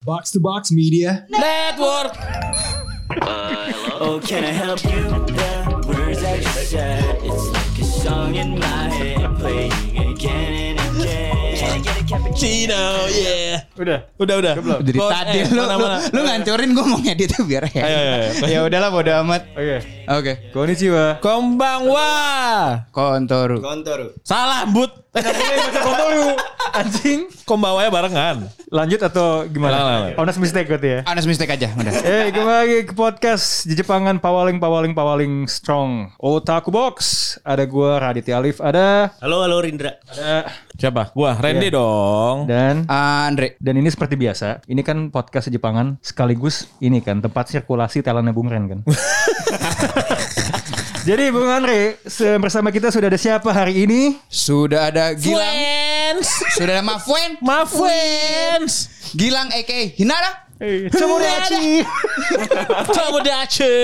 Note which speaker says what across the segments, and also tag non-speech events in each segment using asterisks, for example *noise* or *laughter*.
Speaker 1: Box to Box Media.
Speaker 2: Network.
Speaker 3: Oh, can I help you? The words that you said, it's like a song in my head, playing again and again. Can I get a
Speaker 2: Cino, yeah.
Speaker 4: Udah.
Speaker 2: Udah, udah.
Speaker 5: Dari
Speaker 2: Bos,
Speaker 5: tadi
Speaker 2: eh,
Speaker 5: lu, lu,
Speaker 2: mana-mana.
Speaker 5: lu ngancurin gue mau ngedit biar ya.
Speaker 2: Ayo, ayo, ayo.
Speaker 5: *laughs* ya udahlah bodo amat.
Speaker 4: Oke.
Speaker 5: Oke.
Speaker 4: Konnichiwa.
Speaker 2: Kombang wah.
Speaker 5: Kontoru.
Speaker 2: Salah, but.
Speaker 4: Kontoru. Anjing.
Speaker 2: Kombawanya barengan.
Speaker 4: Lanjut atau gimana?
Speaker 2: Lah, lah, lah.
Speaker 4: Honest mistake berarti ya.
Speaker 5: Honest mistake aja udah.
Speaker 2: *laughs*
Speaker 4: Eh, kembali lagi ke podcast Jejepangan Pawaling Pawaling Pawaling Strong Otaku Box. Ada gua Raditya Alif, ada
Speaker 3: Halo, halo Rindra.
Speaker 4: ada Iya.
Speaker 2: Siapa? Gua, Randy dong.
Speaker 4: dan
Speaker 5: Ah, Andre.
Speaker 4: dan ini seperti biasa, ini kan podcast Jejepangan sekaligus ini kan tempat sirkulasi talentnya Bung Ren *laughs* kan. Jadi Bung Andre, se- bersama kita sudah ada siapa hari ini?
Speaker 5: Sudah ada Gilang.
Speaker 2: Friends.
Speaker 5: Sudah ada Mafuen.
Speaker 2: My friends.
Speaker 5: Gilang aka Hinara.
Speaker 4: Comodachi.
Speaker 2: Tomodachi.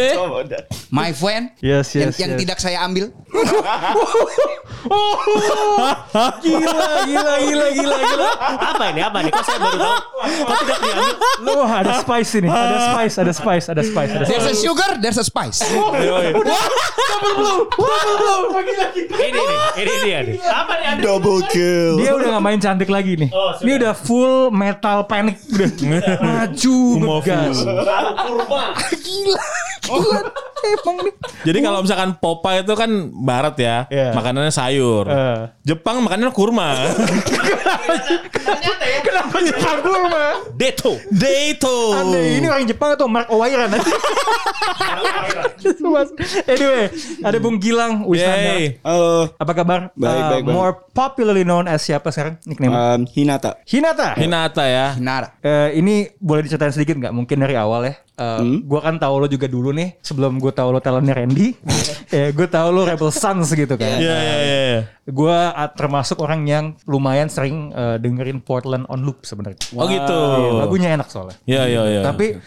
Speaker 5: My friend.
Speaker 4: Yes,
Speaker 5: yang,
Speaker 4: yes,
Speaker 5: yang
Speaker 4: yes.
Speaker 5: tidak saya ambil.
Speaker 4: Gila, gila, gila, gila, gila.
Speaker 3: Apa ini? Apa ini? Kok saya baru tahu? Kok tidak diambil?
Speaker 4: Lu ada spice ini, ada spice, ada spice, ada spice, ada
Speaker 5: There's a
Speaker 4: spice.
Speaker 5: sugar, there's a spice.
Speaker 3: Ini nih, ini dia nih. Apa nih? Ada
Speaker 4: Dia udah gak main cantik lagi nih.
Speaker 3: Oh, sudah.
Speaker 4: Ini udah full metal panic udah. Maju ngegas. Gila. Gila. Emang nih.
Speaker 2: Jadi kalau misalkan popa itu kan barat ya,
Speaker 4: Iya.
Speaker 2: makanannya sayur.
Speaker 4: Eh.
Speaker 2: Jepang makanannya
Speaker 3: *laughs*
Speaker 2: kurma.
Speaker 4: Kenapa Jepang kurma?
Speaker 2: Deto. Deto.
Speaker 4: Anda ini orang Jepang atau Mark Owairan? anyway, ada Bung Gilang Wisnandar.
Speaker 2: Yeay.
Speaker 6: Halo,
Speaker 4: Apa kabar?
Speaker 6: Baik,
Speaker 4: Uh,
Speaker 6: baik, baik.
Speaker 4: More popularly known as siapa sekarang? Nickname?
Speaker 6: um, Hinata.
Speaker 4: Hinata.
Speaker 2: Hinata ya.
Speaker 5: Hinara.
Speaker 4: Eh, ini boleh diceritain sedikit nggak? Mungkin dari awal ya. Eh, Gue kan tahu lo juga dulu nih. Sebelum gue tahu lo talentnya Randy, eh, gue tahu lo Rebel Sons gitu
Speaker 2: Iya,
Speaker 4: kan.
Speaker 2: iya, iya. iya.
Speaker 4: Gue ah, termasuk orang yang lumayan sering eh, dengerin Portland on loop sebenarnya.
Speaker 2: Oh gitu.
Speaker 4: Iya, lagunya enak soalnya.
Speaker 2: Iya, iya, iya.
Speaker 4: Tapi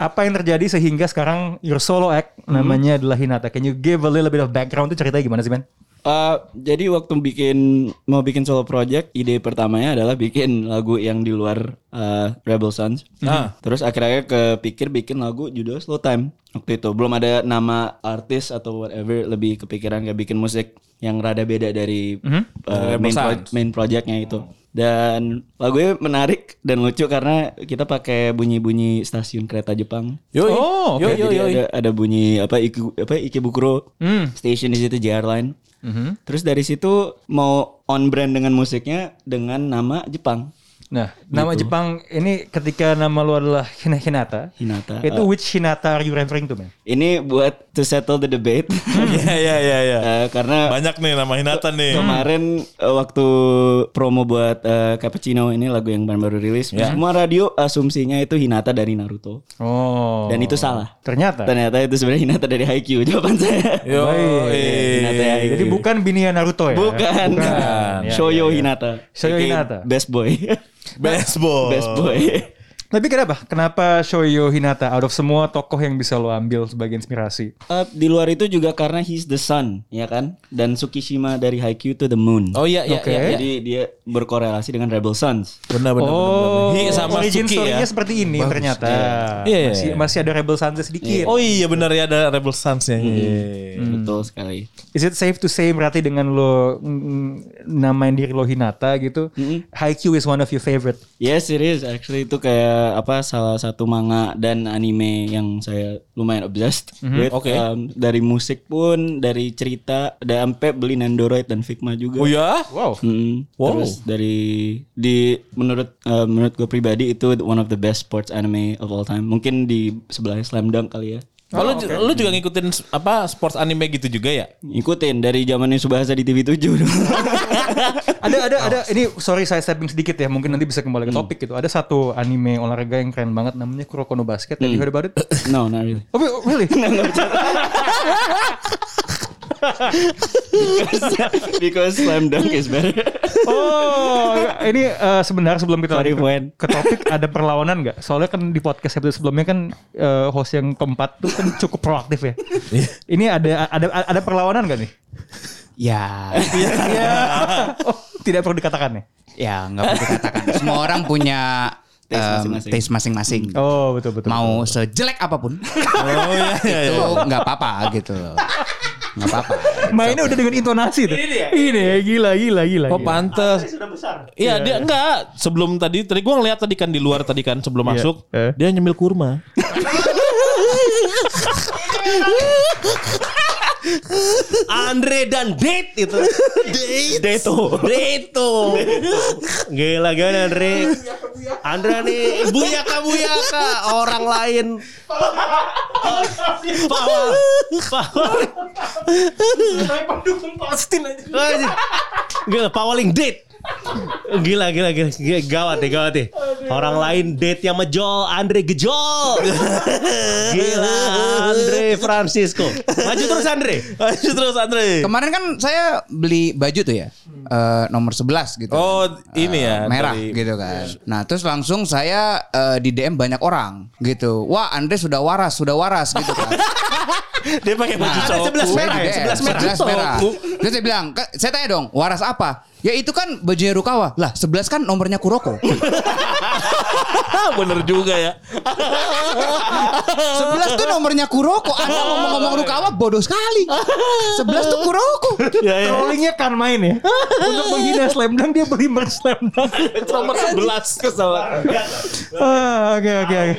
Speaker 4: apa yang terjadi sehingga sekarang your solo act namanya adalah Hinata. Can you give a little bit of background tuh ceritanya gimana sih, Ben?
Speaker 6: Uh, jadi waktu bikin mau bikin solo project, ide pertamanya adalah bikin lagu yang di luar uh, Rebel Sons.
Speaker 2: Ah.
Speaker 6: Terus akhirnya kepikir bikin lagu judul Slow Time. Waktu itu belum ada nama artis atau whatever, lebih kepikiran kayak bikin musik yang rada beda dari uh, main, pro- main projectnya itu. Dan lagunya menarik dan lucu karena kita pakai bunyi-bunyi stasiun kereta Jepang.
Speaker 2: Yoi.
Speaker 4: Oh, oke.
Speaker 2: Yoi, yoi,
Speaker 6: Jadi
Speaker 2: yoi.
Speaker 6: ada ada bunyi apa Iki, apa Ikebukuro station di situ JR Line. Terus dari situ mau on brand dengan musiknya dengan nama Jepang
Speaker 4: Nah, nama Jepang ini ketika nama lu adalah Hin- Hinata.
Speaker 6: Hinata.
Speaker 4: Itu
Speaker 6: Uh,
Speaker 4: which Hinata are you referring to, man?
Speaker 6: ini buat to settle the debate
Speaker 2: *laughs* Iya, iya, iya, iya.
Speaker 6: *laughs* Eh, karena
Speaker 2: Banyak Hmm. nih nama Hinata nih.
Speaker 6: kemarin eh, waktu promo buat eh, Cappuccino ini lagu yang baru rilis semua radio asumsinya itu Hinata dari Naruto
Speaker 4: Oh.
Speaker 6: dan itu salah.
Speaker 4: Ternyata.
Speaker 6: Ternyata itu sebenarnya Hinata dari Haikyuu *laughs* jawaban saya.
Speaker 2: Yo, eh.
Speaker 6: Hinata ya.
Speaker 4: Jadi bukan Binia Naruto ya?
Speaker 6: Bukan. *laughs*
Speaker 2: Iya,
Speaker 4: Ya,
Speaker 6: Shoyo Hinata.
Speaker 4: Shoyo
Speaker 6: Aka
Speaker 4: Hinata.
Speaker 6: Best boy.
Speaker 2: *laughs* best boy.
Speaker 6: Best boy. *laughs*
Speaker 4: Tapi kenapa? Kenapa Shoyo Hinata out of semua tokoh yang bisa lo ambil sebagai inspirasi?
Speaker 6: Eh, di luar itu juga karena he's the sun, ya kan? Dan Tsukishima dari Haikyuu to the moon.
Speaker 2: Oh iya, iya,
Speaker 4: Oke.
Speaker 2: iya.
Speaker 6: Jadi dia berkorelasi dengan Rebel Sons.
Speaker 2: Benar, benar, benar, benar. Hi sama
Speaker 4: Oh. origin
Speaker 2: Suki ya.
Speaker 4: story-nya seperti ini ternyata.
Speaker 2: Iya, iya,
Speaker 4: Masih,
Speaker 2: iya.
Speaker 4: masih ada Rebel Sansa sedikit.
Speaker 2: Oh iya benar ya ada Rebel Sons ya.
Speaker 6: Betul sekali.
Speaker 4: Is it safe to say berarti dengan lo mm, namain diri lo Hinata gitu, Haikyuu is one of your favorite.
Speaker 6: Yes, it is. Actually itu kayak apa salah satu manga dan anime yang saya lumayan obsessed with.
Speaker 2: Mhm, Oke.
Speaker 6: Um, dari musik pun, dari cerita, dan sampai beli Nendoroid dan Figma juga.
Speaker 2: Oh ya?
Speaker 4: Wow.
Speaker 6: Mm,
Speaker 2: Wow.
Speaker 6: Terus dari di menurut eh, menurut gue pribadi itu one of the best sports anime of all time. Mungkin di sebelah Slam Dunk kali ya.
Speaker 2: Oh, lu, lu juga ngikutin s- apa sports anime gitu juga ya?
Speaker 6: Ikutin dari zamannya Subasa di TV 7 dulu.
Speaker 4: ada ada ada ini sorry saya stepping sedikit ya mungkin nanti bisa kembali ke topik gitu ada satu anime olahraga yang keren banget namanya Kuroko no Basket Have you heard about it?
Speaker 6: *laughs* no, not really. *laughs*
Speaker 4: Oh, wait, really?
Speaker 6: Because Slam Dunk is better.
Speaker 4: *laughs* Oh, ini eh, sebenarnya sebelum kita
Speaker 6: Sorry,
Speaker 4: lanjut
Speaker 6: Wen.
Speaker 4: ke topik ada perlawanan nggak? Soalnya kan di podcast episode sebelumnya kan eh, host yang keempat tuh kan cukup proaktif ya. ini ada ada ada perlawanan nggak nih?
Speaker 5: Ya,
Speaker 4: *laughs* Oh, tidak perlu dikatakan ya.
Speaker 5: ya nggak perlu dikatakan. Semua orang punya
Speaker 6: Taste
Speaker 5: em,
Speaker 6: masing-masing.
Speaker 5: taste masing-masing.
Speaker 4: Oh betul betul.
Speaker 5: Mau sejelek apapun
Speaker 2: Oh iya iya.
Speaker 5: itu
Speaker 2: iya.
Speaker 5: nggak apa-apa gitu loh. Nggak apa-apa.
Speaker 4: Mainnya udah dengan intonasi tuh. Ini ya. gila gila gila.
Speaker 2: Oh
Speaker 4: gila.
Speaker 2: pantes. Iya dia enggak sebelum tadi tadi gua ngeliat tadi kan di luar tadi kan sebelum masuk
Speaker 4: Eh.
Speaker 2: dia nyemil kurma.
Speaker 1: Andre dan date itu. date. Deto. Deto. Gila gila Andre. Andre nih buyaka buyaka orang lain. Pawang. Pawang. Aja. Gila pawaling date. Gila, gila, gila, Gila, gawat deh, gawat deh. Orang lain date yang mejol, Andre gejol. Gila, Andre Francisco. Maju terus Andre.
Speaker 2: Lanjut terus Andre.
Speaker 5: Kemarin kan saya beli baju tuh ya. eh, nomor 11 gitu.
Speaker 2: Hmm. Oh
Speaker 5: Eh,
Speaker 2: ini ya
Speaker 5: merah
Speaker 2: dari- Iya.
Speaker 5: gitu kan. Nah, terus langsung saya eh, di DM banyak orang gitu. Wah, Andre sudah waras, sudah waras gitu kan.
Speaker 2: *laughs* Dia pakai baju
Speaker 5: Nah,
Speaker 1: ada
Speaker 2: cowok.
Speaker 1: 11 merah ya?
Speaker 5: Di DM,
Speaker 1: 11 merah.
Speaker 5: 11 merah.
Speaker 2: Cowok.
Speaker 5: Terus saya bilang, "Kak, saya tanya dong, waras apa? Ya itu kan bajunya Rukawa. Lah, 11 kan nomornya
Speaker 2: *laughs*
Speaker 5: Kuroko.
Speaker 2: Ah, *laughs* bener juga ya.
Speaker 5: 11 tuh nomornya Kuroko. Anda mau
Speaker 2: *laughs*
Speaker 5: ngomong Rukawa bodoh sekali. 11 tuh Kuroko.
Speaker 2: ya, ya.
Speaker 4: Trollingnya kan main ya. Untuk menghina slam dunk dia beli merch slam dunk.
Speaker 2: Nomor 11 kesel.
Speaker 4: Ah, Oke oke oke.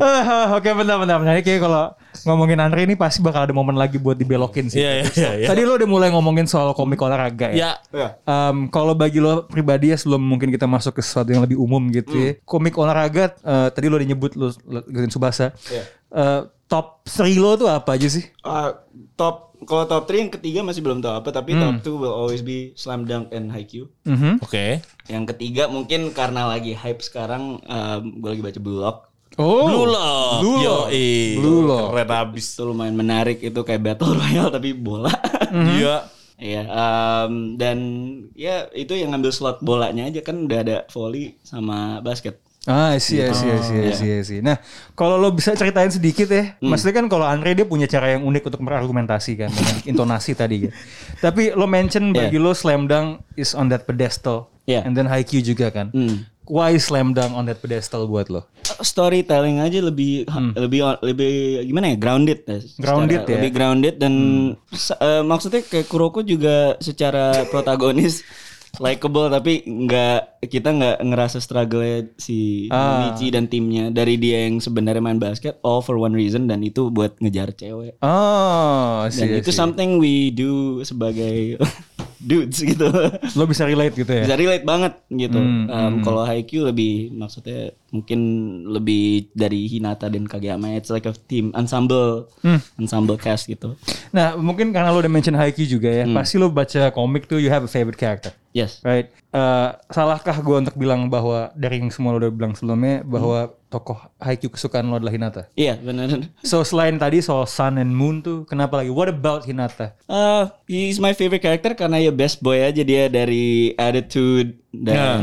Speaker 4: Ah, Oke bentar bentar bentar. Ini kayak kalau ngomongin Andre ini pasti bakal ada momen lagi buat dibelokin sih.
Speaker 2: Iya iya iya.
Speaker 4: Tadi lo udah mulai ngomongin soal komik
Speaker 1: Iya.
Speaker 4: olahraga ya.
Speaker 2: Ya,
Speaker 4: Em, kalau bagi lo pribadi ya sebelum mungkin kita masuk ke sesuatu yang lebih umum gitu ya. Komik olahraga eh, tadi lo udah nyebut lo, lo ikutin Subasa. Eh, top 3 lo tuh apa aja sih?
Speaker 6: Ah, top kalau top 3 yang ketiga masih belum tahu apa tapi
Speaker 4: Hmm.
Speaker 6: top 2 will always be slam dunk and haikyuu.
Speaker 4: Mm-hmm.
Speaker 2: oke.
Speaker 6: Yang ketiga mungkin karena lagi hype sekarang um, gue lagi baca Blue Lock.
Speaker 4: Oh.
Speaker 2: Blue Lock.
Speaker 4: Blue Lock.
Speaker 2: Yoi.
Speaker 4: Blue Lock.
Speaker 2: Keren abis.
Speaker 6: Itu lumayan menarik itu kayak battle royale tapi bola. *laughs*
Speaker 2: Iya.
Speaker 6: Iya, um, dan ya itu yang ngambil slot bolanya aja kan udah ada volley sama basket.
Speaker 4: Ah, sih, sih, sih,
Speaker 6: Oh,
Speaker 4: sih,
Speaker 6: iya.
Speaker 4: Nah, kalau lo bisa ceritain sedikit ya,
Speaker 6: Hmm.
Speaker 4: maksudnya kan kalau Andre dia punya cara yang unik untuk berargumentasi kan,
Speaker 6: *laughs*
Speaker 4: dengan intonasi tadi. Gitu. Tapi lo
Speaker 6: Iya.
Speaker 4: mention bagi lo slam dunk is on that pedestal,
Speaker 6: Yeah.
Speaker 4: and then Haikyuu juga kan.
Speaker 6: Iya. Hmm.
Speaker 4: Why slam dunk on that pedestal buat lo?
Speaker 6: storytelling aja lebih lebih lebih gimana ya grounded ya,
Speaker 4: Hmm. Grounded
Speaker 6: secara-
Speaker 4: ya. Hmm.
Speaker 6: lebih grounded dan se- eh, maksudnya kayak Kuroko juga
Speaker 4: *laughs*
Speaker 6: secara protagonis likable tapi nggak kita nggak ngerasa struggle si
Speaker 4: Ah.
Speaker 6: Michi dan timnya dari dia yang sebenarnya main basket all for one reason dan itu buat ngejar cewek
Speaker 4: Oh,
Speaker 6: dan
Speaker 4: sih,
Speaker 6: itu something we do sebagai *laughs* dudes gitu
Speaker 4: Lo bisa relate gitu ya?
Speaker 6: bisa relate banget gitu. Um, Kalau Haikyuu lebih maksudnya mungkin lebih dari Hinata dan Kageyama. It's like a team ensemble, ensemble cast gitu.
Speaker 4: Nah, mungkin karena lo udah mention Haikyuu juga
Speaker 6: Hmm.
Speaker 4: ya, pasti lo baca komik tuh you have a favorite character.
Speaker 6: Yes.
Speaker 4: Right. Eh, salahkah gue untuk bilang bahwa dari yang semua lo udah bilang sebelumnya bahwa tokoh Haikyuu kesukaan lo adalah Hinata?
Speaker 6: Iya benar. *laughs*
Speaker 4: So selain tadi soal Sun and Moon tuh, kenapa lagi? What about Hinata?
Speaker 6: Uh, he's my favorite character karena ya best boy aja dia dari attitude dan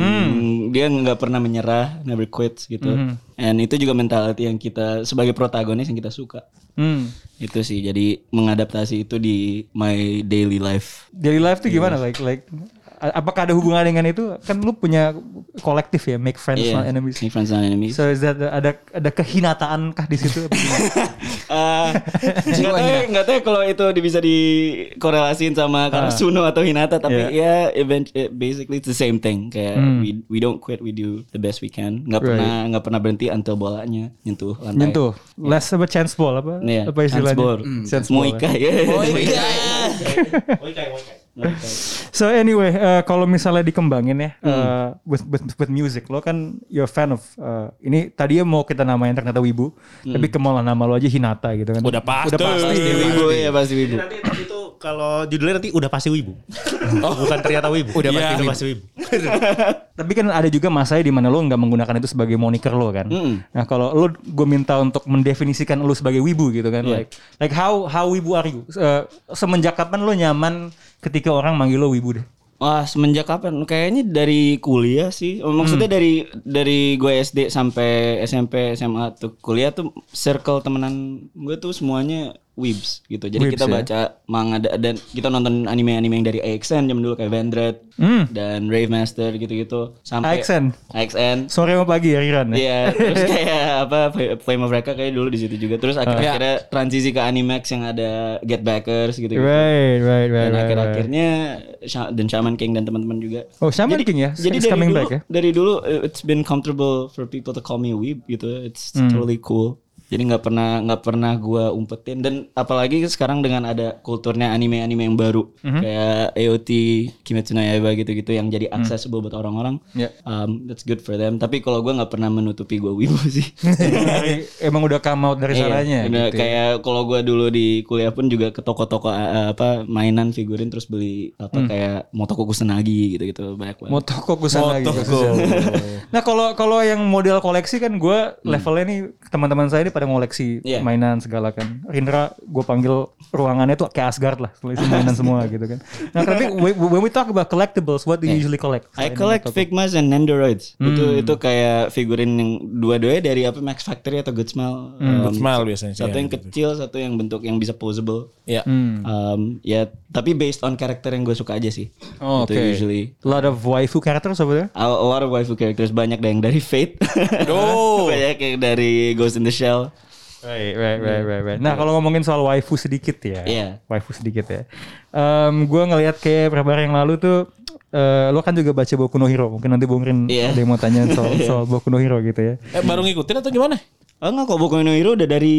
Speaker 6: dia nggak pernah menyerah, never quits gitu. And itu juga mentality yang kita sebagai protagonis yang kita suka.
Speaker 4: Hmm.
Speaker 6: Itu sih jadi mengadaptasi itu di my daily life.
Speaker 4: Daily life tuh
Speaker 6: Iya.
Speaker 4: gimana? Like like a- apakah ada hubungan dengan itu? Kan lu punya kolektif ya, make friends
Speaker 6: Iya,
Speaker 4: not enemies.
Speaker 6: Make friends not enemies.
Speaker 4: So is that ada ada kehinataankah di situ?
Speaker 6: *laughs*
Speaker 4: Apa gimana? *laughs*
Speaker 6: Eh, nggak tahu ya- nggak tahu ya kalau itu di- bisa dikorelasiin
Speaker 4: Ah.
Speaker 6: sama Karasuno atau Hinata tapi
Speaker 4: Iya.
Speaker 6: ya event eh, basically it's the same thing kayak
Speaker 4: Hmm.
Speaker 6: we we don't quit we do the best we can nggak pernah nggak pernah berhenti until bolanya nyentuh lantai
Speaker 4: Nyentuh. Less apa chance ball apa?
Speaker 6: Iya,
Speaker 4: Apa istilahnya?
Speaker 6: chance ball.
Speaker 4: Chance ball, ya.
Speaker 6: Moika ya
Speaker 5: Oh, iya.
Speaker 6: *laughs*
Speaker 4: So anyway, eh, kalau misalnya dikembangin ya
Speaker 6: Hmm.
Speaker 4: eh, with, with with music, lo kan you're a fan of eh, ini tadinya mau kita namain ternyata Wibu,
Speaker 6: Hmm.
Speaker 4: tapi kemola nama lo aja Hinata gitu kan.
Speaker 2: Udah pasti.
Speaker 4: Udah pasti.
Speaker 6: wibu ya pasti wibu
Speaker 1: Nanti itu kalau judulnya nanti udah pasti wibu. Bukan ternyata wibu. Udah
Speaker 2: Oh. pasti wibu.
Speaker 1: wibu.
Speaker 4: Tapi kan ada juga masanya di mana lo nggak menggunakan itu sebagai moniker lo kan.
Speaker 6: Hmm.
Speaker 4: Nah kalau lo gue minta untuk mendefinisikan lo sebagai wibu gitu kan,
Speaker 6: Iya.
Speaker 4: like like how how wibu are you? Eh, semenjak kapan lo nyaman ketika orang manggil lo wibu deh?
Speaker 6: Wah Ah, semenjak kapan? Kayaknya dari kuliah sih. Oh, Maksudnya dari dari gue SD sampai SMP SMA tuh kuliah tuh circle temenan gue tuh semuanya Weebs gitu.
Speaker 4: Weebs,
Speaker 6: Jadi
Speaker 4: ya.
Speaker 6: kita baca manga da- dan kita nonton anime-anime yang dari AXN jam dulu kayak Vendred
Speaker 4: Hmm.
Speaker 6: dan Rave Master gitu-gitu sampai
Speaker 4: AXN.
Speaker 6: AXN.
Speaker 4: Sore sama pagi ya Riran ya.
Speaker 6: Iya, terus kayak *laughs* apa Fl- Flame of Recca kayak dulu di situ juga. Terus akhir akhirnya transisi ke Animax yang ada Get Backers gitu. -gitu.
Speaker 4: Right, right, right,
Speaker 6: Dan
Speaker 4: right, right.
Speaker 6: akhir-akhirnya Sha- dan Shaman King dan teman-teman juga.
Speaker 4: Oh, Shaman King ya?
Speaker 6: Jadi
Speaker 4: It's
Speaker 6: dari
Speaker 4: coming
Speaker 6: dulu,
Speaker 4: back ya?
Speaker 6: dari dulu uh, it's been comfortable for people to call me weeb gitu. It's
Speaker 4: Hmm.
Speaker 6: totally cool. Jadi nggak pernah nggak pernah gua umpetin dan apalagi sekarang dengan ada kulturnya anime-anime yang baru
Speaker 4: Hmm.
Speaker 6: kayak AOT, Kimetsu no Yaiba gitu-gitu yang jadi accessible buat orang-orang.
Speaker 4: Hmm. Ya.
Speaker 6: Um, that's good for them. Tapi kalau gua nggak pernah menutupi gua wibu *laughs* sih.
Speaker 4: Dari- Emang udah come out dari
Speaker 6: Iya,
Speaker 4: sananya
Speaker 6: udah
Speaker 4: gitu. ya.
Speaker 6: kayak kalau gua dulu di kuliah pun juga ke toko-toko eh, apa mainan figurin terus beli apa
Speaker 4: Hmm.
Speaker 6: kayak Motoko Kusanagi gitu-gitu banyak banget.
Speaker 4: Motoko kusana gitu. nah kalau kalau yang model koleksi kan gue levelnya nih teman-teman saya ini pada ngoleksi
Speaker 6: Hmm. Iya.
Speaker 4: mainan segala kan. Rindra gue panggil ruangannya tuh kayak Asgard lah, tulis mainan
Speaker 6: *laughs*
Speaker 4: semua gitu kan. Nah tapi we- when we talk about collectibles, what do you usually collect?
Speaker 6: Iya. I collect Figmas and Nendoroids.
Speaker 2: Hmm.
Speaker 6: Itu itu kayak figurin yang dua-duanya dari apa Max Factory atau Good Smile. Um,
Speaker 2: Hmm. Good Smile biasanya sih,
Speaker 6: Satu
Speaker 2: ya,
Speaker 6: yang kecil, satu yang bentuk yang bisa posable.
Speaker 2: Iya.
Speaker 4: Hmm.
Speaker 6: Um, ya, tapi based on karakter yang gue suka aja sih.
Speaker 4: Oh,
Speaker 6: Itu
Speaker 4: oke.
Speaker 6: usually.
Speaker 4: A lot of waifu characters over there.
Speaker 6: A, a lot of waifu characters banyak yang dari Fate.
Speaker 2: Oh.
Speaker 6: *laughs* banyak yang dari Ghost in the Shell.
Speaker 4: Right, right, right, right, right. Nah kalau ngomongin soal waifu sedikit ya,
Speaker 6: Iya.
Speaker 4: waifu sedikit ya. Em gue ngelihat kayak beberapa hari yang lalu tuh, eh, lo kan juga baca Boku no Hero. Mungkin nanti Bung Rin
Speaker 6: Iya.
Speaker 4: ada yang mau
Speaker 6: *laughs*
Speaker 4: tanya soal, soal Boku no Hero gitu ya.
Speaker 2: Eh, baru ngikutin atau gimana?
Speaker 6: Oh enggak kok Boku no Hero udah dari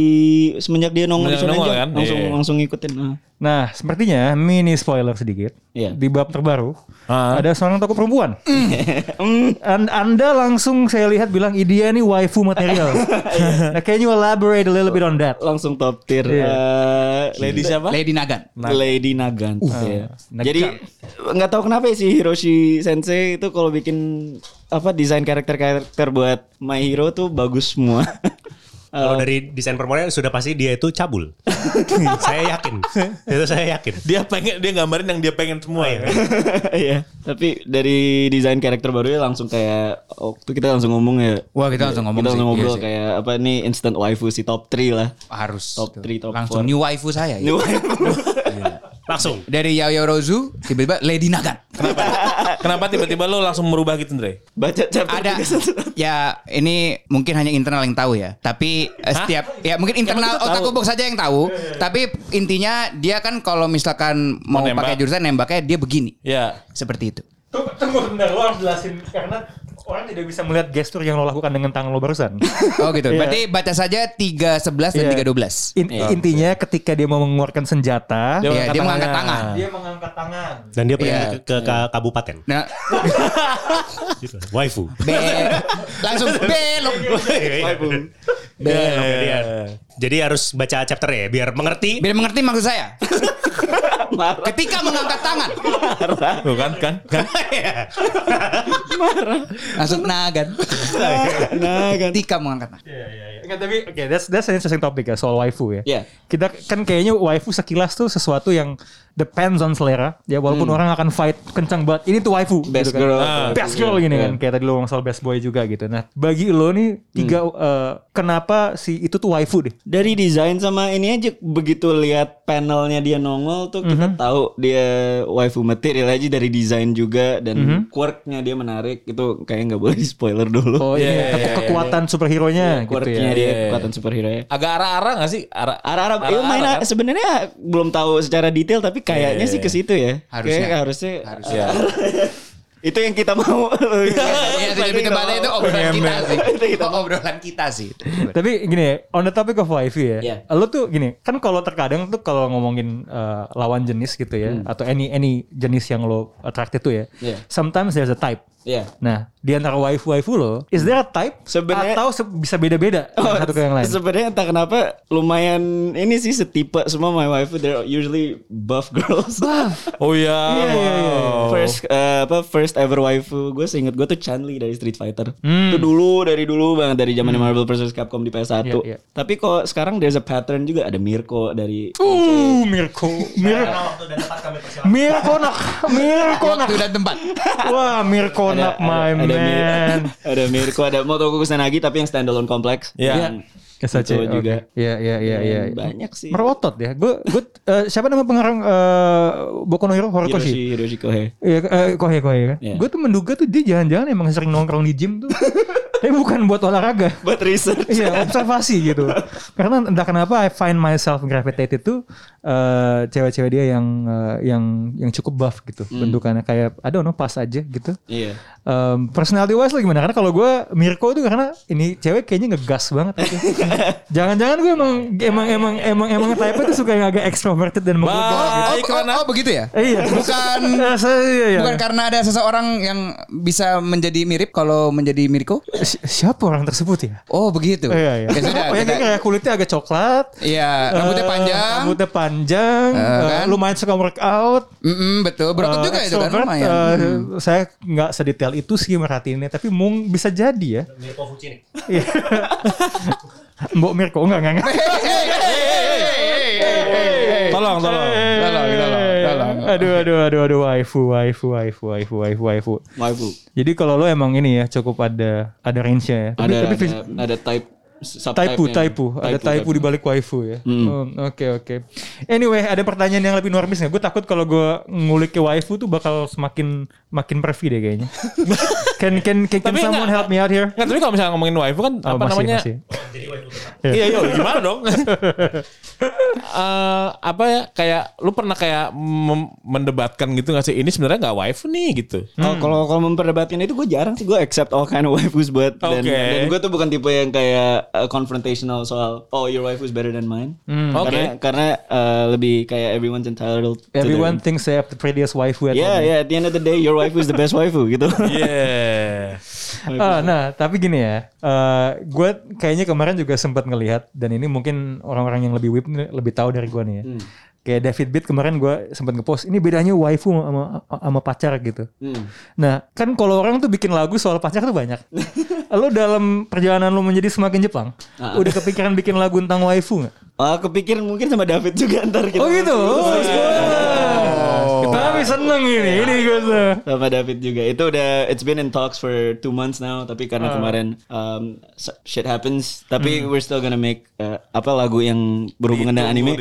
Speaker 6: semenjak dia nongol di
Speaker 2: Semenjak
Speaker 6: Shonen
Speaker 2: nongol
Speaker 6: Jump,
Speaker 2: kan?
Speaker 6: langsung
Speaker 2: Iya.
Speaker 6: langsung ngikutin. Ah.
Speaker 4: Nah, sepertinya mini spoiler sedikit.
Speaker 6: Iya.
Speaker 4: Di bab terbaru
Speaker 2: Ah.
Speaker 4: ada seorang tokoh perempuan.
Speaker 6: *laughs* Mm.
Speaker 4: And anda langsung saya lihat bilang "Ih, dia nih waifu
Speaker 6: *laughs*
Speaker 4: material. nah, can you elaborate a little bit on that?
Speaker 6: Langsung top tier.
Speaker 4: Iya.
Speaker 6: Eh, Lady siapa?
Speaker 5: Lady Nagan.
Speaker 6: Lady Nagan.
Speaker 5: Uh,
Speaker 6: Iya.
Speaker 4: Nagan.
Speaker 6: Jadi nggak tahu kenapa ya sih Hiroshi Sensei itu kalau bikin apa desain karakter-karakter buat My Hero tuh bagus semua. *laughs* Uh,
Speaker 1: Kalau dari desain perempuannya sudah pasti dia itu cabul. saya yakin. Itu saya yakin.
Speaker 2: Dia pengen dia gambarin yang dia pengen semua ya.
Speaker 6: Iya. Tapi dari desain karakter barunya langsung kayak waktu kita langsung ngomong ya.
Speaker 5: Wah, kita langsung ngomong
Speaker 6: Kita
Speaker 5: sih.
Speaker 6: langsung
Speaker 5: Iya
Speaker 6: ngobrol
Speaker 5: sih.
Speaker 6: kayak apa nih instant waifu si top 3 lah.
Speaker 5: Harus.
Speaker 6: Top
Speaker 5: Tuh.
Speaker 6: three, top
Speaker 5: Langsung
Speaker 6: four.
Speaker 5: new waifu saya. ya.
Speaker 6: New waifu.
Speaker 1: Langsung.
Speaker 5: Dari Yaoyo Rozu tiba-tiba Lady Nagan.
Speaker 2: Eh, Kenapa tiba-tiba lo langsung merubah gitu, Andre?
Speaker 6: *laughs* Baca chapter
Speaker 5: ada
Speaker 6: 31.
Speaker 5: *laughs* ya ini mungkin hanya internal yang tahu ya tapi eh, setiap ya mungkin internal otak kubuk saja yang
Speaker 6: Iya,
Speaker 5: tahu tapi intinya dia kan kalau misalkan mau,
Speaker 2: nembak.
Speaker 5: pakai jurusan nembaknya dia begini
Speaker 2: Ya.
Speaker 5: seperti itu
Speaker 4: Tunggu, tunggu bentar, lo harus jelasin karena orang tidak bisa melihat gestur yang lo lakukan dengan tangan lo *laughs* barusan.
Speaker 5: oh gitu
Speaker 4: Iya.
Speaker 5: berarti baca saja 311 dan
Speaker 4: Iya.
Speaker 5: 312
Speaker 4: In- Intinya ketika dia mau mengeluarkan
Speaker 5: Iya,
Speaker 4: senjata,
Speaker 2: Dia
Speaker 5: dia,
Speaker 2: mengangkat
Speaker 5: mengangkat
Speaker 2: tangan.
Speaker 5: tangan
Speaker 4: dia mengangkat tangan.
Speaker 1: Dan dia pergi
Speaker 5: Iya.
Speaker 1: ke, ke- ke kabupaten.
Speaker 5: nah
Speaker 1: Gitu. Waifu.
Speaker 5: be
Speaker 6: *laughs*
Speaker 5: langsung belok
Speaker 1: Waifu. Iya, Jadi harus baca chapter ya biar mengerti.
Speaker 5: biar mengerti maksud saya ketika mengangkat tangan
Speaker 2: Tuh kan kan kan.
Speaker 5: langsung
Speaker 4: *laughs*
Speaker 5: nagan
Speaker 6: Nagan.
Speaker 5: ketika mengangkat tangan
Speaker 4: Iya, iya, iya. Enggak, tapi oke, that's that's an interesting topic ya soal waifu ya.
Speaker 6: Iya.
Speaker 4: Kita kan kayaknya waifu sekilas tuh sesuatu yang depends on selera. Ya walaupun orang akan fight kencang banget, ini tuh waifu
Speaker 6: Best
Speaker 4: gitu kan.
Speaker 6: girl.
Speaker 4: Ah, best girl gini kan. Kayak tadi lo ngomong soal best boy juga gitu. Nah, bagi lo nih tiga eh, kenapa si itu tuh waifu deh?
Speaker 6: dari desain sama ini aja begitu lihat panelnya dia nongol tuh kita tahu dia waifu material aja dari desain juga dan quirk-nya dia menarik itu kayaknya nggak boleh di spoiler dulu.
Speaker 4: Oh, ini ke- kekuatan superhero-nya gitu ya.
Speaker 6: Quirk-nya dia kekuatan superhero ya.
Speaker 2: Agak arah-arah gak sih? Arah
Speaker 6: Arah-arah, ya main
Speaker 2: Arah-arah, kan?
Speaker 6: sebenarnya belum tahu secara detail tapi kayaknya sih ke situ ya.
Speaker 5: Harusnya.
Speaker 6: Kayak harusnya. itu yang kita mau.
Speaker 5: Iya, itu lebih kepada itu obrolan kita sih. obrolan kita sih.
Speaker 4: Tapi gini ya, on the topic of waifu ya.
Speaker 6: Iya.
Speaker 4: Lo tuh gini, kan kalau terkadang tuh kalau ngomongin eh, lawan jenis gitu ya atau any any jenis yang lo attracted tuh ya.
Speaker 6: Hmm. Iya.
Speaker 4: Sometimes there's a type.
Speaker 6: Iya.
Speaker 4: Nah, di antara waifu-waifu lo, is there a type
Speaker 6: Sebenarnya-
Speaker 4: atau se- bisa
Speaker 6: *laughs*
Speaker 4: beda-beda
Speaker 6: Oh,
Speaker 4: satu ke yang lain?
Speaker 6: Sebenarnya entah kenapa lumayan ini sih setipe semua my waifu they're usually buff *laughs* girls. Buff.
Speaker 2: Oh iya. wow.
Speaker 6: First eh, apa first ever waifu gue seinget gue tuh Chun-Li dari Street Fighter.
Speaker 4: Hmm.
Speaker 6: Itu dulu dari dulu banget dari zaman Marvel vs Capcom di PS1.
Speaker 4: Iya, iya.
Speaker 6: Tapi kok sekarang there's a pattern juga ada Mirko dari
Speaker 4: Uh, Mirko, Mir Mirko nak,
Speaker 6: *laughs*
Speaker 4: Mirko nak.
Speaker 5: Waktu dan tempat.
Speaker 4: Wah, Mirko nak my
Speaker 6: *laughs* ada, Mir-
Speaker 4: man.
Speaker 6: ada Mirko, ada Motoko Kusanagi tapi yang standalone kompleks.
Speaker 2: Iya.
Speaker 6: Dan
Speaker 4: SAC
Speaker 6: Itu juga.
Speaker 4: Iya iya iya iya.
Speaker 6: Banyak sih.
Speaker 4: Merotot ya. Gue gue eh, siapa nama pengarang eh, Boku no Hero Horikoshi?
Speaker 6: Hiroshi, Hiroshi Kohei.
Speaker 4: Iya, eh, kohe kohe kan.
Speaker 6: Iya.
Speaker 4: Gue tuh menduga tuh dia jangan-jangan emang sering nongkrong di gym tuh. Tapi bukan buat olahraga.
Speaker 6: Buat research.
Speaker 4: Iya, observasi gitu. Karena entah kenapa I find myself gravitated tuh eh, cewek-cewek dia yang eh, yang yang cukup buff gitu
Speaker 6: Hmm.
Speaker 4: bentukannya kayak I don't know pas aja gitu.
Speaker 6: Iya.
Speaker 4: Em, personality wise lo gimana? Karena kalau gue Mirko itu karena ini cewek kayaknya ngegas
Speaker 5: *laughs*
Speaker 4: banget. gitu. Jangan-jangan gue emang emang emang emang emang type tuh suka yang agak extroverted dan menggoda.
Speaker 2: Ba-
Speaker 5: Oh,
Speaker 2: Baik,
Speaker 5: oh,
Speaker 2: Rana.
Speaker 5: oh, begitu ya?
Speaker 4: Eh, Iya,
Speaker 5: Bukan
Speaker 4: Eh, saya- iya, iya.
Speaker 5: bukan karena ada seseorang yang bisa menjadi mirip kalau menjadi Mirko?
Speaker 4: Eh, Si- siapa orang tersebut ya?
Speaker 5: Oh, begitu.
Speaker 4: Iya, iya.
Speaker 5: Ya sudah.
Speaker 4: Apa ya,
Speaker 5: kita-
Speaker 4: kayak kulitnya agak coklat.
Speaker 5: Iya, rambutnya
Speaker 4: eh,
Speaker 5: panjang.
Speaker 4: Rambutnya panjang.
Speaker 5: Eh,
Speaker 4: eh,
Speaker 5: kan?
Speaker 4: lumayan suka workout.
Speaker 5: Mm-mm, betul, berotot
Speaker 4: eh,
Speaker 5: juga itu kan
Speaker 4: extrovert,
Speaker 5: lumayan.
Speaker 4: eh,
Speaker 5: Hmm.
Speaker 4: *laughs* Saya nggak sedetail itu sih merhatiinnya, tapi mung bisa jadi ya.
Speaker 1: *laughs* Mirko Fucini.
Speaker 4: Iya. Mbok Mirko enggak enggak. enggak.
Speaker 2: Tolong, tolong.
Speaker 5: Tolong, tolong, tolong.
Speaker 4: Aduh, aduh, aduh, aduh, waifu, waifu, waifu, waifu, waifu, waifu.
Speaker 6: Waifu.
Speaker 4: Jadi kalau lo emang ini ya cukup ada ada range-nya ya. Tapi,
Speaker 6: Ada,
Speaker 4: tapi
Speaker 6: ada, ada type
Speaker 4: taipu, taipu, ada taipu di balik waifu ya.
Speaker 2: Hmm.
Speaker 4: Oh, Oke, oke. Anyway, ada pertanyaan yang lebih normis nggak? Gue takut kalau gue ngulik ke waifu tuh bakal semakin makin pervi deh
Speaker 2: *laughs*
Speaker 4: kayaknya. can can can, can
Speaker 2: Tapi
Speaker 4: someone
Speaker 2: nggak-
Speaker 4: help me out here?
Speaker 2: Nggak, tapi kalau misalnya ngomongin waifu kan
Speaker 4: Oh,
Speaker 2: apa
Speaker 4: masih,
Speaker 2: namanya?
Speaker 4: masih.
Speaker 2: Iya, iya, gimana *laughs* dong? Eh, apa ya kayak lu pernah kayak mem- mendebatkan gitu nggak sih ini sebenarnya nggak waifu nih gitu
Speaker 6: Oh,
Speaker 4: Hmm.
Speaker 6: kalau kalau memperdebatkan itu gue jarang sih gue accept all kind of *laughs* waifus buat dan,
Speaker 2: Oke.
Speaker 6: dan gue tuh bukan tipe yang kayak uh, confrontational soal oh your waifu is better than mine
Speaker 4: Hmm.
Speaker 2: Oke.
Speaker 6: karena karena uh, lebih kayak everyone's entitled to
Speaker 4: Everyone
Speaker 6: their-
Speaker 4: thinks they have the prettiest waifu at
Speaker 6: yeah
Speaker 4: home.
Speaker 6: yeah at the end of the day your waifu is the best waifu
Speaker 4: *laughs*
Speaker 6: gitu
Speaker 2: *laughs* yeah
Speaker 4: Ah, nah, tapi gini ya, eh gue kayaknya kemarin juga sempat ngelihat dan ini mungkin orang-orang yang lebih whip nih lebih tahu dari gue nih ya. Kayak David Beat kemarin gue sempat ngepost ini bedanya waifu sama sama pacar gitu. Nah, kan kalau orang tuh bikin lagu soal pacar tuh *laughs* banyak. lo dalam perjalanan lo menjadi semakin Jepang, udah kepikiran bikin lagu tentang waifu nggak?
Speaker 6: Ah, kepikiran mungkin sama David juga ntar kita
Speaker 4: Oh gitu. Oh, Tapi seneng ini, ini gue tuh.
Speaker 6: sama David juga itu udah it's been in talks for two months now tapi karena kemarin um, s- shit happens tapi we're still gonna make uh, apa lagu yang berhubungan dengan anime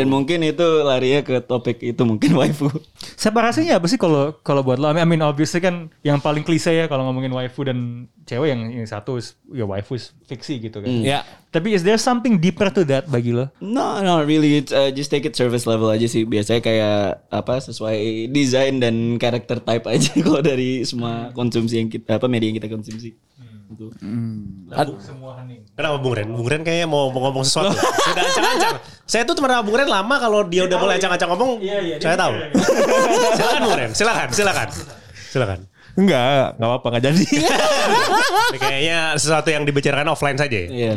Speaker 6: dan mungkin itu larinya ke topik itu mungkin *laughs* waifu
Speaker 4: Separasinya apa sih kalau kalau buat lo? I mean obviously kan yang paling klise ya kalau ngomongin waifu dan cewek yang, yang satu is- ya waifu is fiksi gitu kan.
Speaker 2: ya
Speaker 4: Tapi is there something deeper to that bagi lo?
Speaker 6: no no really it's uh, just take it service level aja sih biasanya kayak apa sesuai desain dan karakter type aja *laughs* kalau dari semua konsumsi yang kita apa media yang kita konsumsi Gitu.
Speaker 1: Kenapa Bung Ren? Bung Ren kayaknya mau mau ngomong sesuatu. *laughs* Sudah ancang-ancang. Saya tuh teman Bung Ren lama kalau dia udah mulai ancang-ancang ngomong, saya tahu. *laughs* silakan Bung Ren, silakan, silakan. Silakan.
Speaker 2: Enggak, enggak apa-apa, enggak *laughs* jadi.
Speaker 1: Ini Kayaknya sesuatu yang dibicarakan offline saja ya.
Speaker 6: Iya.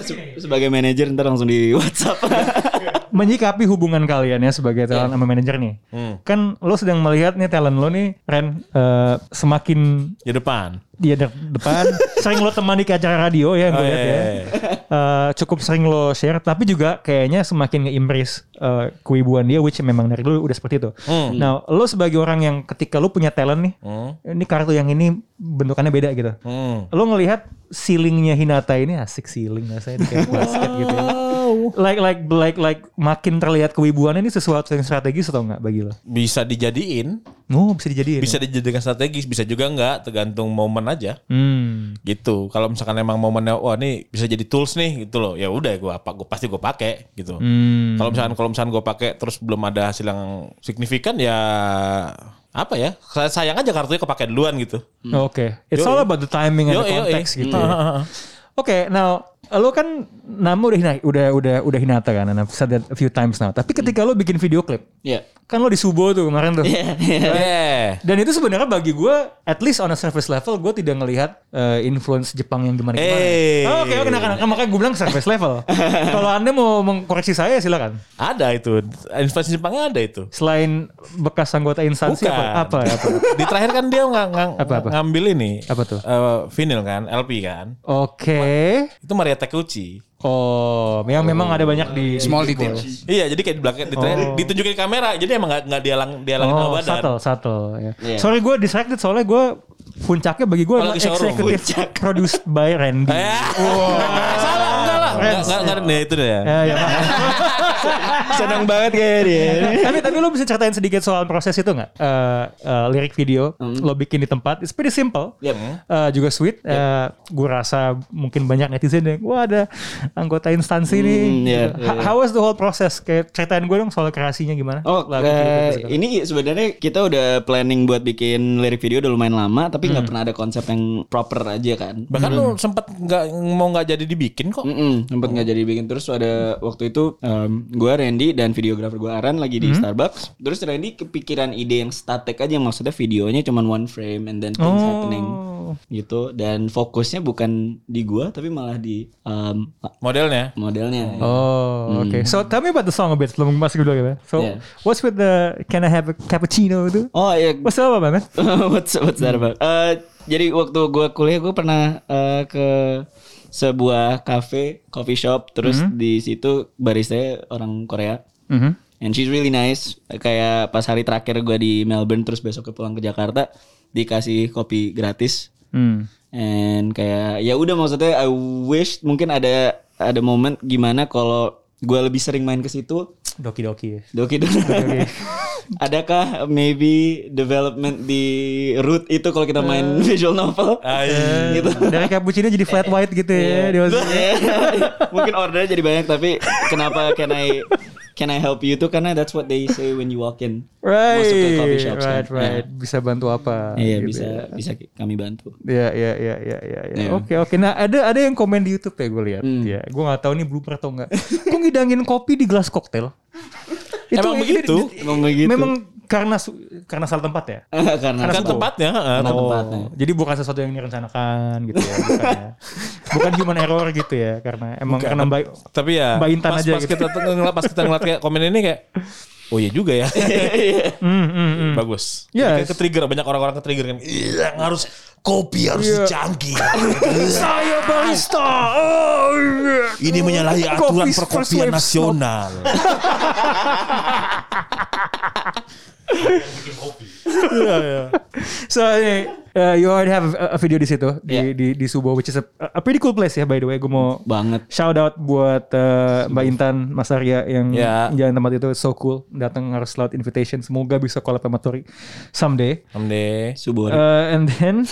Speaker 6: Se- sebagai manajer ntar langsung di WhatsApp
Speaker 4: Menyikapi hubungan kalian ya sebagai talent sama manajer nih. Kan lo sedang melihat nih talent lo nih Ren eh, semakin
Speaker 2: Di Ya depan.
Speaker 4: dia de-
Speaker 2: *laughs*
Speaker 4: depan sering lo temani ke acara radio ya
Speaker 2: Oh,
Speaker 4: gue lihat
Speaker 2: iya,
Speaker 4: ya
Speaker 2: iya,
Speaker 4: Eh, cukup sering lo share tapi juga kayaknya semakin nge-embrace eh, keibuan dia which memang dari dulu udah seperti itu
Speaker 2: Hmm.
Speaker 4: nah lo sebagai orang yang ketika lo punya talent nih ini kartu yang ini bentukannya beda gitu
Speaker 2: Hmm.
Speaker 4: lo ngelihat ceilingnya Hinata ini asik ceiling rasanya dia kayak basket gitu ya. like like like like makin terlihat kewibuannya ini sesuatu yang strategis atau enggak bagi lo
Speaker 2: Bisa dijadiin,
Speaker 4: oh bisa dijadiin
Speaker 2: bisa dijadikan strategis, bisa juga enggak, tergantung momen aja.
Speaker 4: hmm.
Speaker 2: Gitu. Kalau misalkan emang momennya wah ini bisa jadi tools nih gitu loh. Ya udah gua apa gua pasti gua pakai gitu.
Speaker 4: Hmm.
Speaker 2: Kalau misalkan kalau misalkan gua pakai terus belum ada hasil yang signifikan ya apa ya? Say- Sayang aja kartunya kepake duluan gitu.
Speaker 4: Oke, it's all about the timing and the
Speaker 2: Yoi, yoi.
Speaker 4: context gitu.
Speaker 2: *laughs*
Speaker 4: ya.
Speaker 2: Hmm.
Speaker 4: Oke, now lo kan nama udah Hina- udah udah udah Hinata kan, and I've said that a few times now. Tapi ketika lo bikin video klip,
Speaker 6: Iya.
Speaker 4: kan lo di Subo tuh kemarin tuh.
Speaker 2: Yeah.
Speaker 4: Dan itu sebenarnya bagi gue, at least on a surface level, gue tidak ngelihat eh, influence Jepang yang gimana gimana.
Speaker 2: Hey.
Speaker 4: Oke, oke, nah, nah, makanya gue bilang surface level. Kalau anda mau mengkoreksi saya silakan.
Speaker 2: Ada itu. Influence Jepangnya ada itu.
Speaker 4: Selain bekas anggota instansi
Speaker 2: Bukan.
Speaker 4: apa? ya? Apa? apa?
Speaker 2: *laughs* Di terakhir kan dia nggak nggak-
Speaker 4: Apa, apa?
Speaker 2: ngambil ini.
Speaker 4: Apa tuh?
Speaker 2: eh, vinyl kan, LP kan.
Speaker 4: Oke.
Speaker 2: Itu Maria Takeuchi.
Speaker 4: Oh, yang memang ada banyak di
Speaker 5: Small detail.
Speaker 2: Iya, jadi kayak di belakang di terakhir ditunjukin
Speaker 4: Oh,
Speaker 2: kamera. Jadi emang nggak nggak dialang dialangin sama badan.
Speaker 6: Iya.
Speaker 4: Subtle, subtle. Ya. Sorry gue distracted soalnya gue Puncaknya bagi gue
Speaker 2: Oh,
Speaker 4: adalah
Speaker 2: lagi showroom.
Speaker 4: executive produced by Randy.
Speaker 2: Eh, *laughs* salah enggak lah. Enggak, enggak, enggak, Nah, itu deh.
Speaker 4: Ya, ya, Pak.
Speaker 6: *laughs* Senang banget kayaknya dia.
Speaker 4: tapi tapi lo bisa ceritain sedikit soal proses itu nggak? Eh, eh, lirik video
Speaker 6: Hmm.
Speaker 4: lo bikin di tempat, it's pretty simple.
Speaker 6: Yep.
Speaker 4: Eh, juga sweet. Eh, gue rasa mungkin banyak netizen yang wah ada anggota instansi nih.
Speaker 6: iya,
Speaker 4: Gitu. How- How was the whole process? Kayak ceritain gue dong soal kreasinya gimana?
Speaker 6: Oh,
Speaker 4: Lagu
Speaker 6: eh,
Speaker 4: video itu.
Speaker 6: ini sebenarnya kita udah planning buat bikin lirik video udah lumayan lama, tapi
Speaker 4: Hmm.
Speaker 6: nggak pernah ada konsep yang proper aja kan.
Speaker 2: Bahkan lu sempat nggak mau nggak jadi dibikin kok.
Speaker 4: Oh.
Speaker 6: Mm-mm, sempet nggak jadi bikin terus ada waktu itu em, gua Randy dan videografer gua Aran
Speaker 4: Hmm.
Speaker 6: lagi di Starbucks terus Randy kepikiran ide yang static aja maksudnya videonya cuman one frame and then things
Speaker 4: Oh.
Speaker 6: happening gitu dan fokusnya bukan di gua tapi malah di em,
Speaker 2: Modelnya.
Speaker 6: modelnya
Speaker 4: Oh, oke. So tell me about the song a bit sebelum masuk dulu gitu. So
Speaker 6: Mm. Yeah.
Speaker 4: what's with the Can I have a cappuccino itu?
Speaker 6: oh iya
Speaker 4: What's up man?
Speaker 6: *laughs* what's, what's that about? Eh, jadi waktu gue kuliah gue pernah eh, ke sebuah cafe, coffee shop, terus di situ barista orang Korea. And she's really nice. Kayak pas hari terakhir gue di Melbourne, terus besok pulang ke Jakarta, dikasih kopi gratis. And kayak ya udah maksudnya I wish mungkin ada ada momen gimana kalau gue lebih sering main ke situ
Speaker 4: Doki doki.
Speaker 6: Doki Doki. *laughs* Adakah maybe development di root itu kalau kita main
Speaker 4: Eh.
Speaker 6: visual novel? *laughs* gitu.
Speaker 4: Dari cappuccino jadi
Speaker 6: *laughs*
Speaker 4: flat white gitu ya. Dia-
Speaker 6: Mungkin ordernya jadi banyak tapi kenapa can I can I help you itu karena that's what they say when you walk in.
Speaker 4: Right,
Speaker 6: Masuk ke coffee shops, kan?
Speaker 4: right, right. Bisa bantu apa?
Speaker 6: Iya,
Speaker 4: gitu
Speaker 6: bisa
Speaker 4: ya.
Speaker 6: bisa kami bantu.
Speaker 4: Ya, ya, ya, ya, ya, ya.
Speaker 6: Iya.
Speaker 4: Oke, oke. Nah, ada ada yang komen di YouTube ya gue lihat.
Speaker 6: Hmm.
Speaker 4: Ya, gue nggak tahu nih blooper atau enggak. Kok ngidangin kopi di gelas koktail?
Speaker 2: Emang begitu?
Speaker 6: Emang begitu.
Speaker 4: Memang karena su- karena salah tempat ya.
Speaker 6: *laughs* karena
Speaker 2: Kan
Speaker 4: Karena-
Speaker 2: tempatnya. heeh.
Speaker 6: karena
Speaker 4: Oh,
Speaker 6: tempatnya.
Speaker 4: jadi bukan sesuatu yang direncanakan gitu ya. Bukan, ya. bukan human error gitu ya, karena emang karena baik.
Speaker 2: Tapi ya
Speaker 4: Mbak Intan
Speaker 2: pas,
Speaker 4: aja
Speaker 2: pas
Speaker 4: gitu.
Speaker 2: kita tuh ngeliat pas kita ngeliat kayak komen ini kayak oh iya juga ya. Bagus. Jadi
Speaker 4: Yes.
Speaker 2: Ke trigger banyak orang-orang ke trigger kan. Iya, harus kopi harus
Speaker 4: Iya.
Speaker 2: canggih.
Speaker 4: Saya barista. Oh, iya.
Speaker 2: *laughs* Ini menyalahi aturan
Speaker 4: Kopi first
Speaker 2: perkopian
Speaker 4: wave
Speaker 2: nasional.
Speaker 4: So ini, uh, you already have a, a video di situ di di di Subo which is a, a pretty cool place ya by the way. Gue mau
Speaker 6: Banget.
Speaker 4: shout out buat uh, Mbak Intan, Mas Arya yang
Speaker 2: Ya.
Speaker 4: jalan tempat itu It's so cool. Datang harus laut invitation. Semoga bisa collab sama Tori someday.
Speaker 2: Amde.
Speaker 6: Subuh.
Speaker 4: Uh, and then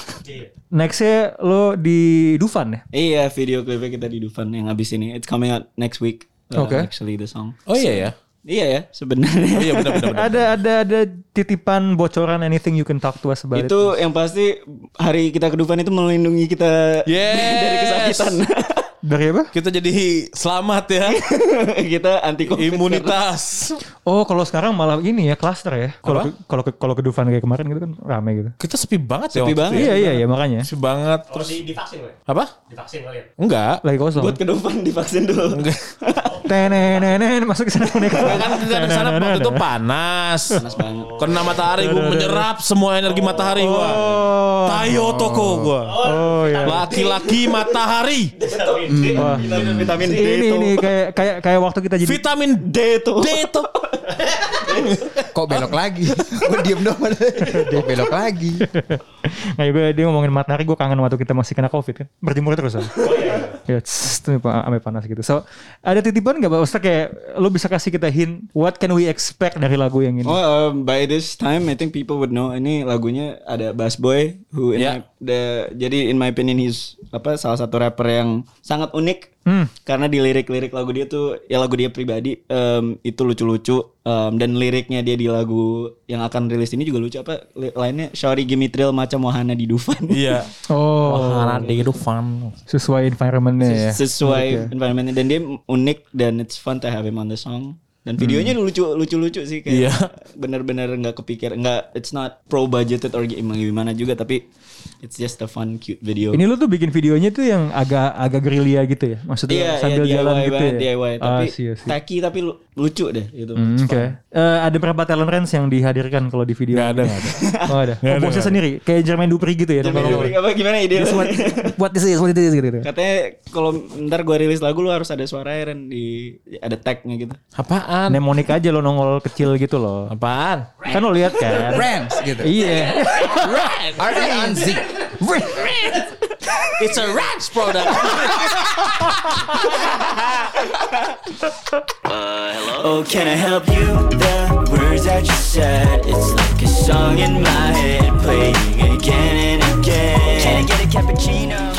Speaker 4: nextnya lo di Dufan ya.
Speaker 6: Iya, video klipnya kita di Dufan yang habis ini. It's coming out next week. uh,
Speaker 4: Oke.
Speaker 6: Actually the song.
Speaker 2: Oh iya ya.
Speaker 6: Iya ya, sebenarnya.
Speaker 2: Oh iya benar benar. benar.
Speaker 4: Ada ada ada titipan bocoran anything you can talk to us about
Speaker 6: itu yang pasti hari kita ke Dufan itu melindungi kita *laughs*
Speaker 2: Yes.
Speaker 6: dari kesakitan. *laughs*
Speaker 4: it. dari apa?
Speaker 2: Kita jadi selamat ya.
Speaker 6: kita anti covid.
Speaker 2: Imunitas.
Speaker 4: Oh kalau sekarang malah ini ya cluster ya. Kalau ke- kalau ke- kalau ke Dufan kayak kemarin gitu kan rame gitu.
Speaker 2: Kita sepi banget ya. waktu
Speaker 6: Sepi
Speaker 2: itu
Speaker 6: banget.
Speaker 2: ya.
Speaker 4: Iya iya iya makanya
Speaker 2: Sepi banget. Terus
Speaker 1: Oh, Di, divaksin kali.
Speaker 2: apa?
Speaker 1: Divaksin kali. ya?
Speaker 2: Enggak.
Speaker 4: lagi kosong.
Speaker 6: Buat ke Dufan divaksin dulu.
Speaker 4: Tenenenen masuk ke sana boneka.
Speaker 2: Kan kita ke sana waktu itu panas. Panas
Speaker 6: banget.
Speaker 2: Kena matahari gue menyerap semua energi matahari gua.
Speaker 4: Oh.
Speaker 2: Tayo toko gua.
Speaker 4: Oh ya.
Speaker 2: Laki-laki matahari.
Speaker 4: Wah.
Speaker 6: *laughs* Vitamin, vitamin D
Speaker 4: Ini
Speaker 6: itu.
Speaker 4: ini kayak kayak kayak waktu kita *laughs* jadi
Speaker 2: Vitamin
Speaker 6: D itu.
Speaker 2: D itu.
Speaker 5: Kok belok
Speaker 4: *laughs*
Speaker 5: lagi? Gue diem dong. *laughs* Kok belok lagi?
Speaker 4: Nah, gue dia ngomongin matahari gue kangen waktu kita masih kena covid kan. Berjemur terus. kan? *laughs* ya, tss, tuh pak ame panas gitu. So, ada titipan nggak Pak? Maksudnya kayak lo bisa kasih kita hint what can we expect dari lagu yang ini?
Speaker 6: Oh, um, by this time I think people would know ini lagunya ada Bass Boy who in
Speaker 2: Yeah.
Speaker 6: my- the, jadi in my opinion he's apa salah satu rapper yang sangat unik karena di lirik-lirik lagu dia tuh ya lagu dia pribadi um, itu lucu-lucu um, dan liriknya dia di lagu yang akan rilis ini juga lucu apa li- lainnya Shawty Gimme Thrill macam Wahana di Dufan.
Speaker 2: Iya.
Speaker 4: Oh,
Speaker 2: di fun.
Speaker 4: sesuai environmentnya ya.
Speaker 6: sesuai environmentnya dan dia unik dan it's fun to have him on the song
Speaker 4: Hmm.
Speaker 6: dan videonya lucu lucu lucu sih kayak
Speaker 2: Iya.
Speaker 6: bener-bener nggak kepikir nggak it's not pro budgeted or gimana gimana juga tapi it's just a fun cute video
Speaker 4: Ini lo tuh bikin videonya tuh yang agak agak gerilya gitu ya. Maksudnya
Speaker 6: Iya,
Speaker 4: sambil
Speaker 6: iya,
Speaker 4: jalan
Speaker 6: DIY
Speaker 4: gitu
Speaker 6: banget,
Speaker 4: ya.
Speaker 6: DIY
Speaker 4: Ah,
Speaker 6: tapi
Speaker 4: sih, sih.
Speaker 6: tacky tapi lu- lucu deh gitu
Speaker 4: Hmm, Oke. Eh, ada berapa talent range yang dihadirkan kalau di video?
Speaker 2: Gak ada,
Speaker 6: *laughs*
Speaker 2: gak ada.
Speaker 4: Oh ada. Oh, bosnya sendiri kayak Jermaine Dupri gitu ya.
Speaker 6: Jadi
Speaker 4: Jermaine
Speaker 6: *laughs* apa gimana ide lu?
Speaker 4: What, what this is, what it is gitu.
Speaker 6: Kan- katanya kalau ntar gua rilis lagu lu harus ada suara Ren di ada tagnya gitu
Speaker 2: Apaan? Apaan?
Speaker 4: Mnemonik aja lo nongol kecil gitu loh.
Speaker 2: Apaan?
Speaker 4: Kan lo lihat kan?
Speaker 5: Rams gitu.
Speaker 4: Iya.
Speaker 5: R-A-N-Z.
Speaker 6: It's a ranch product. Oh, can I help you? The words that you said, it's like a song in my head, playing again and again. Can I get a cappuccino?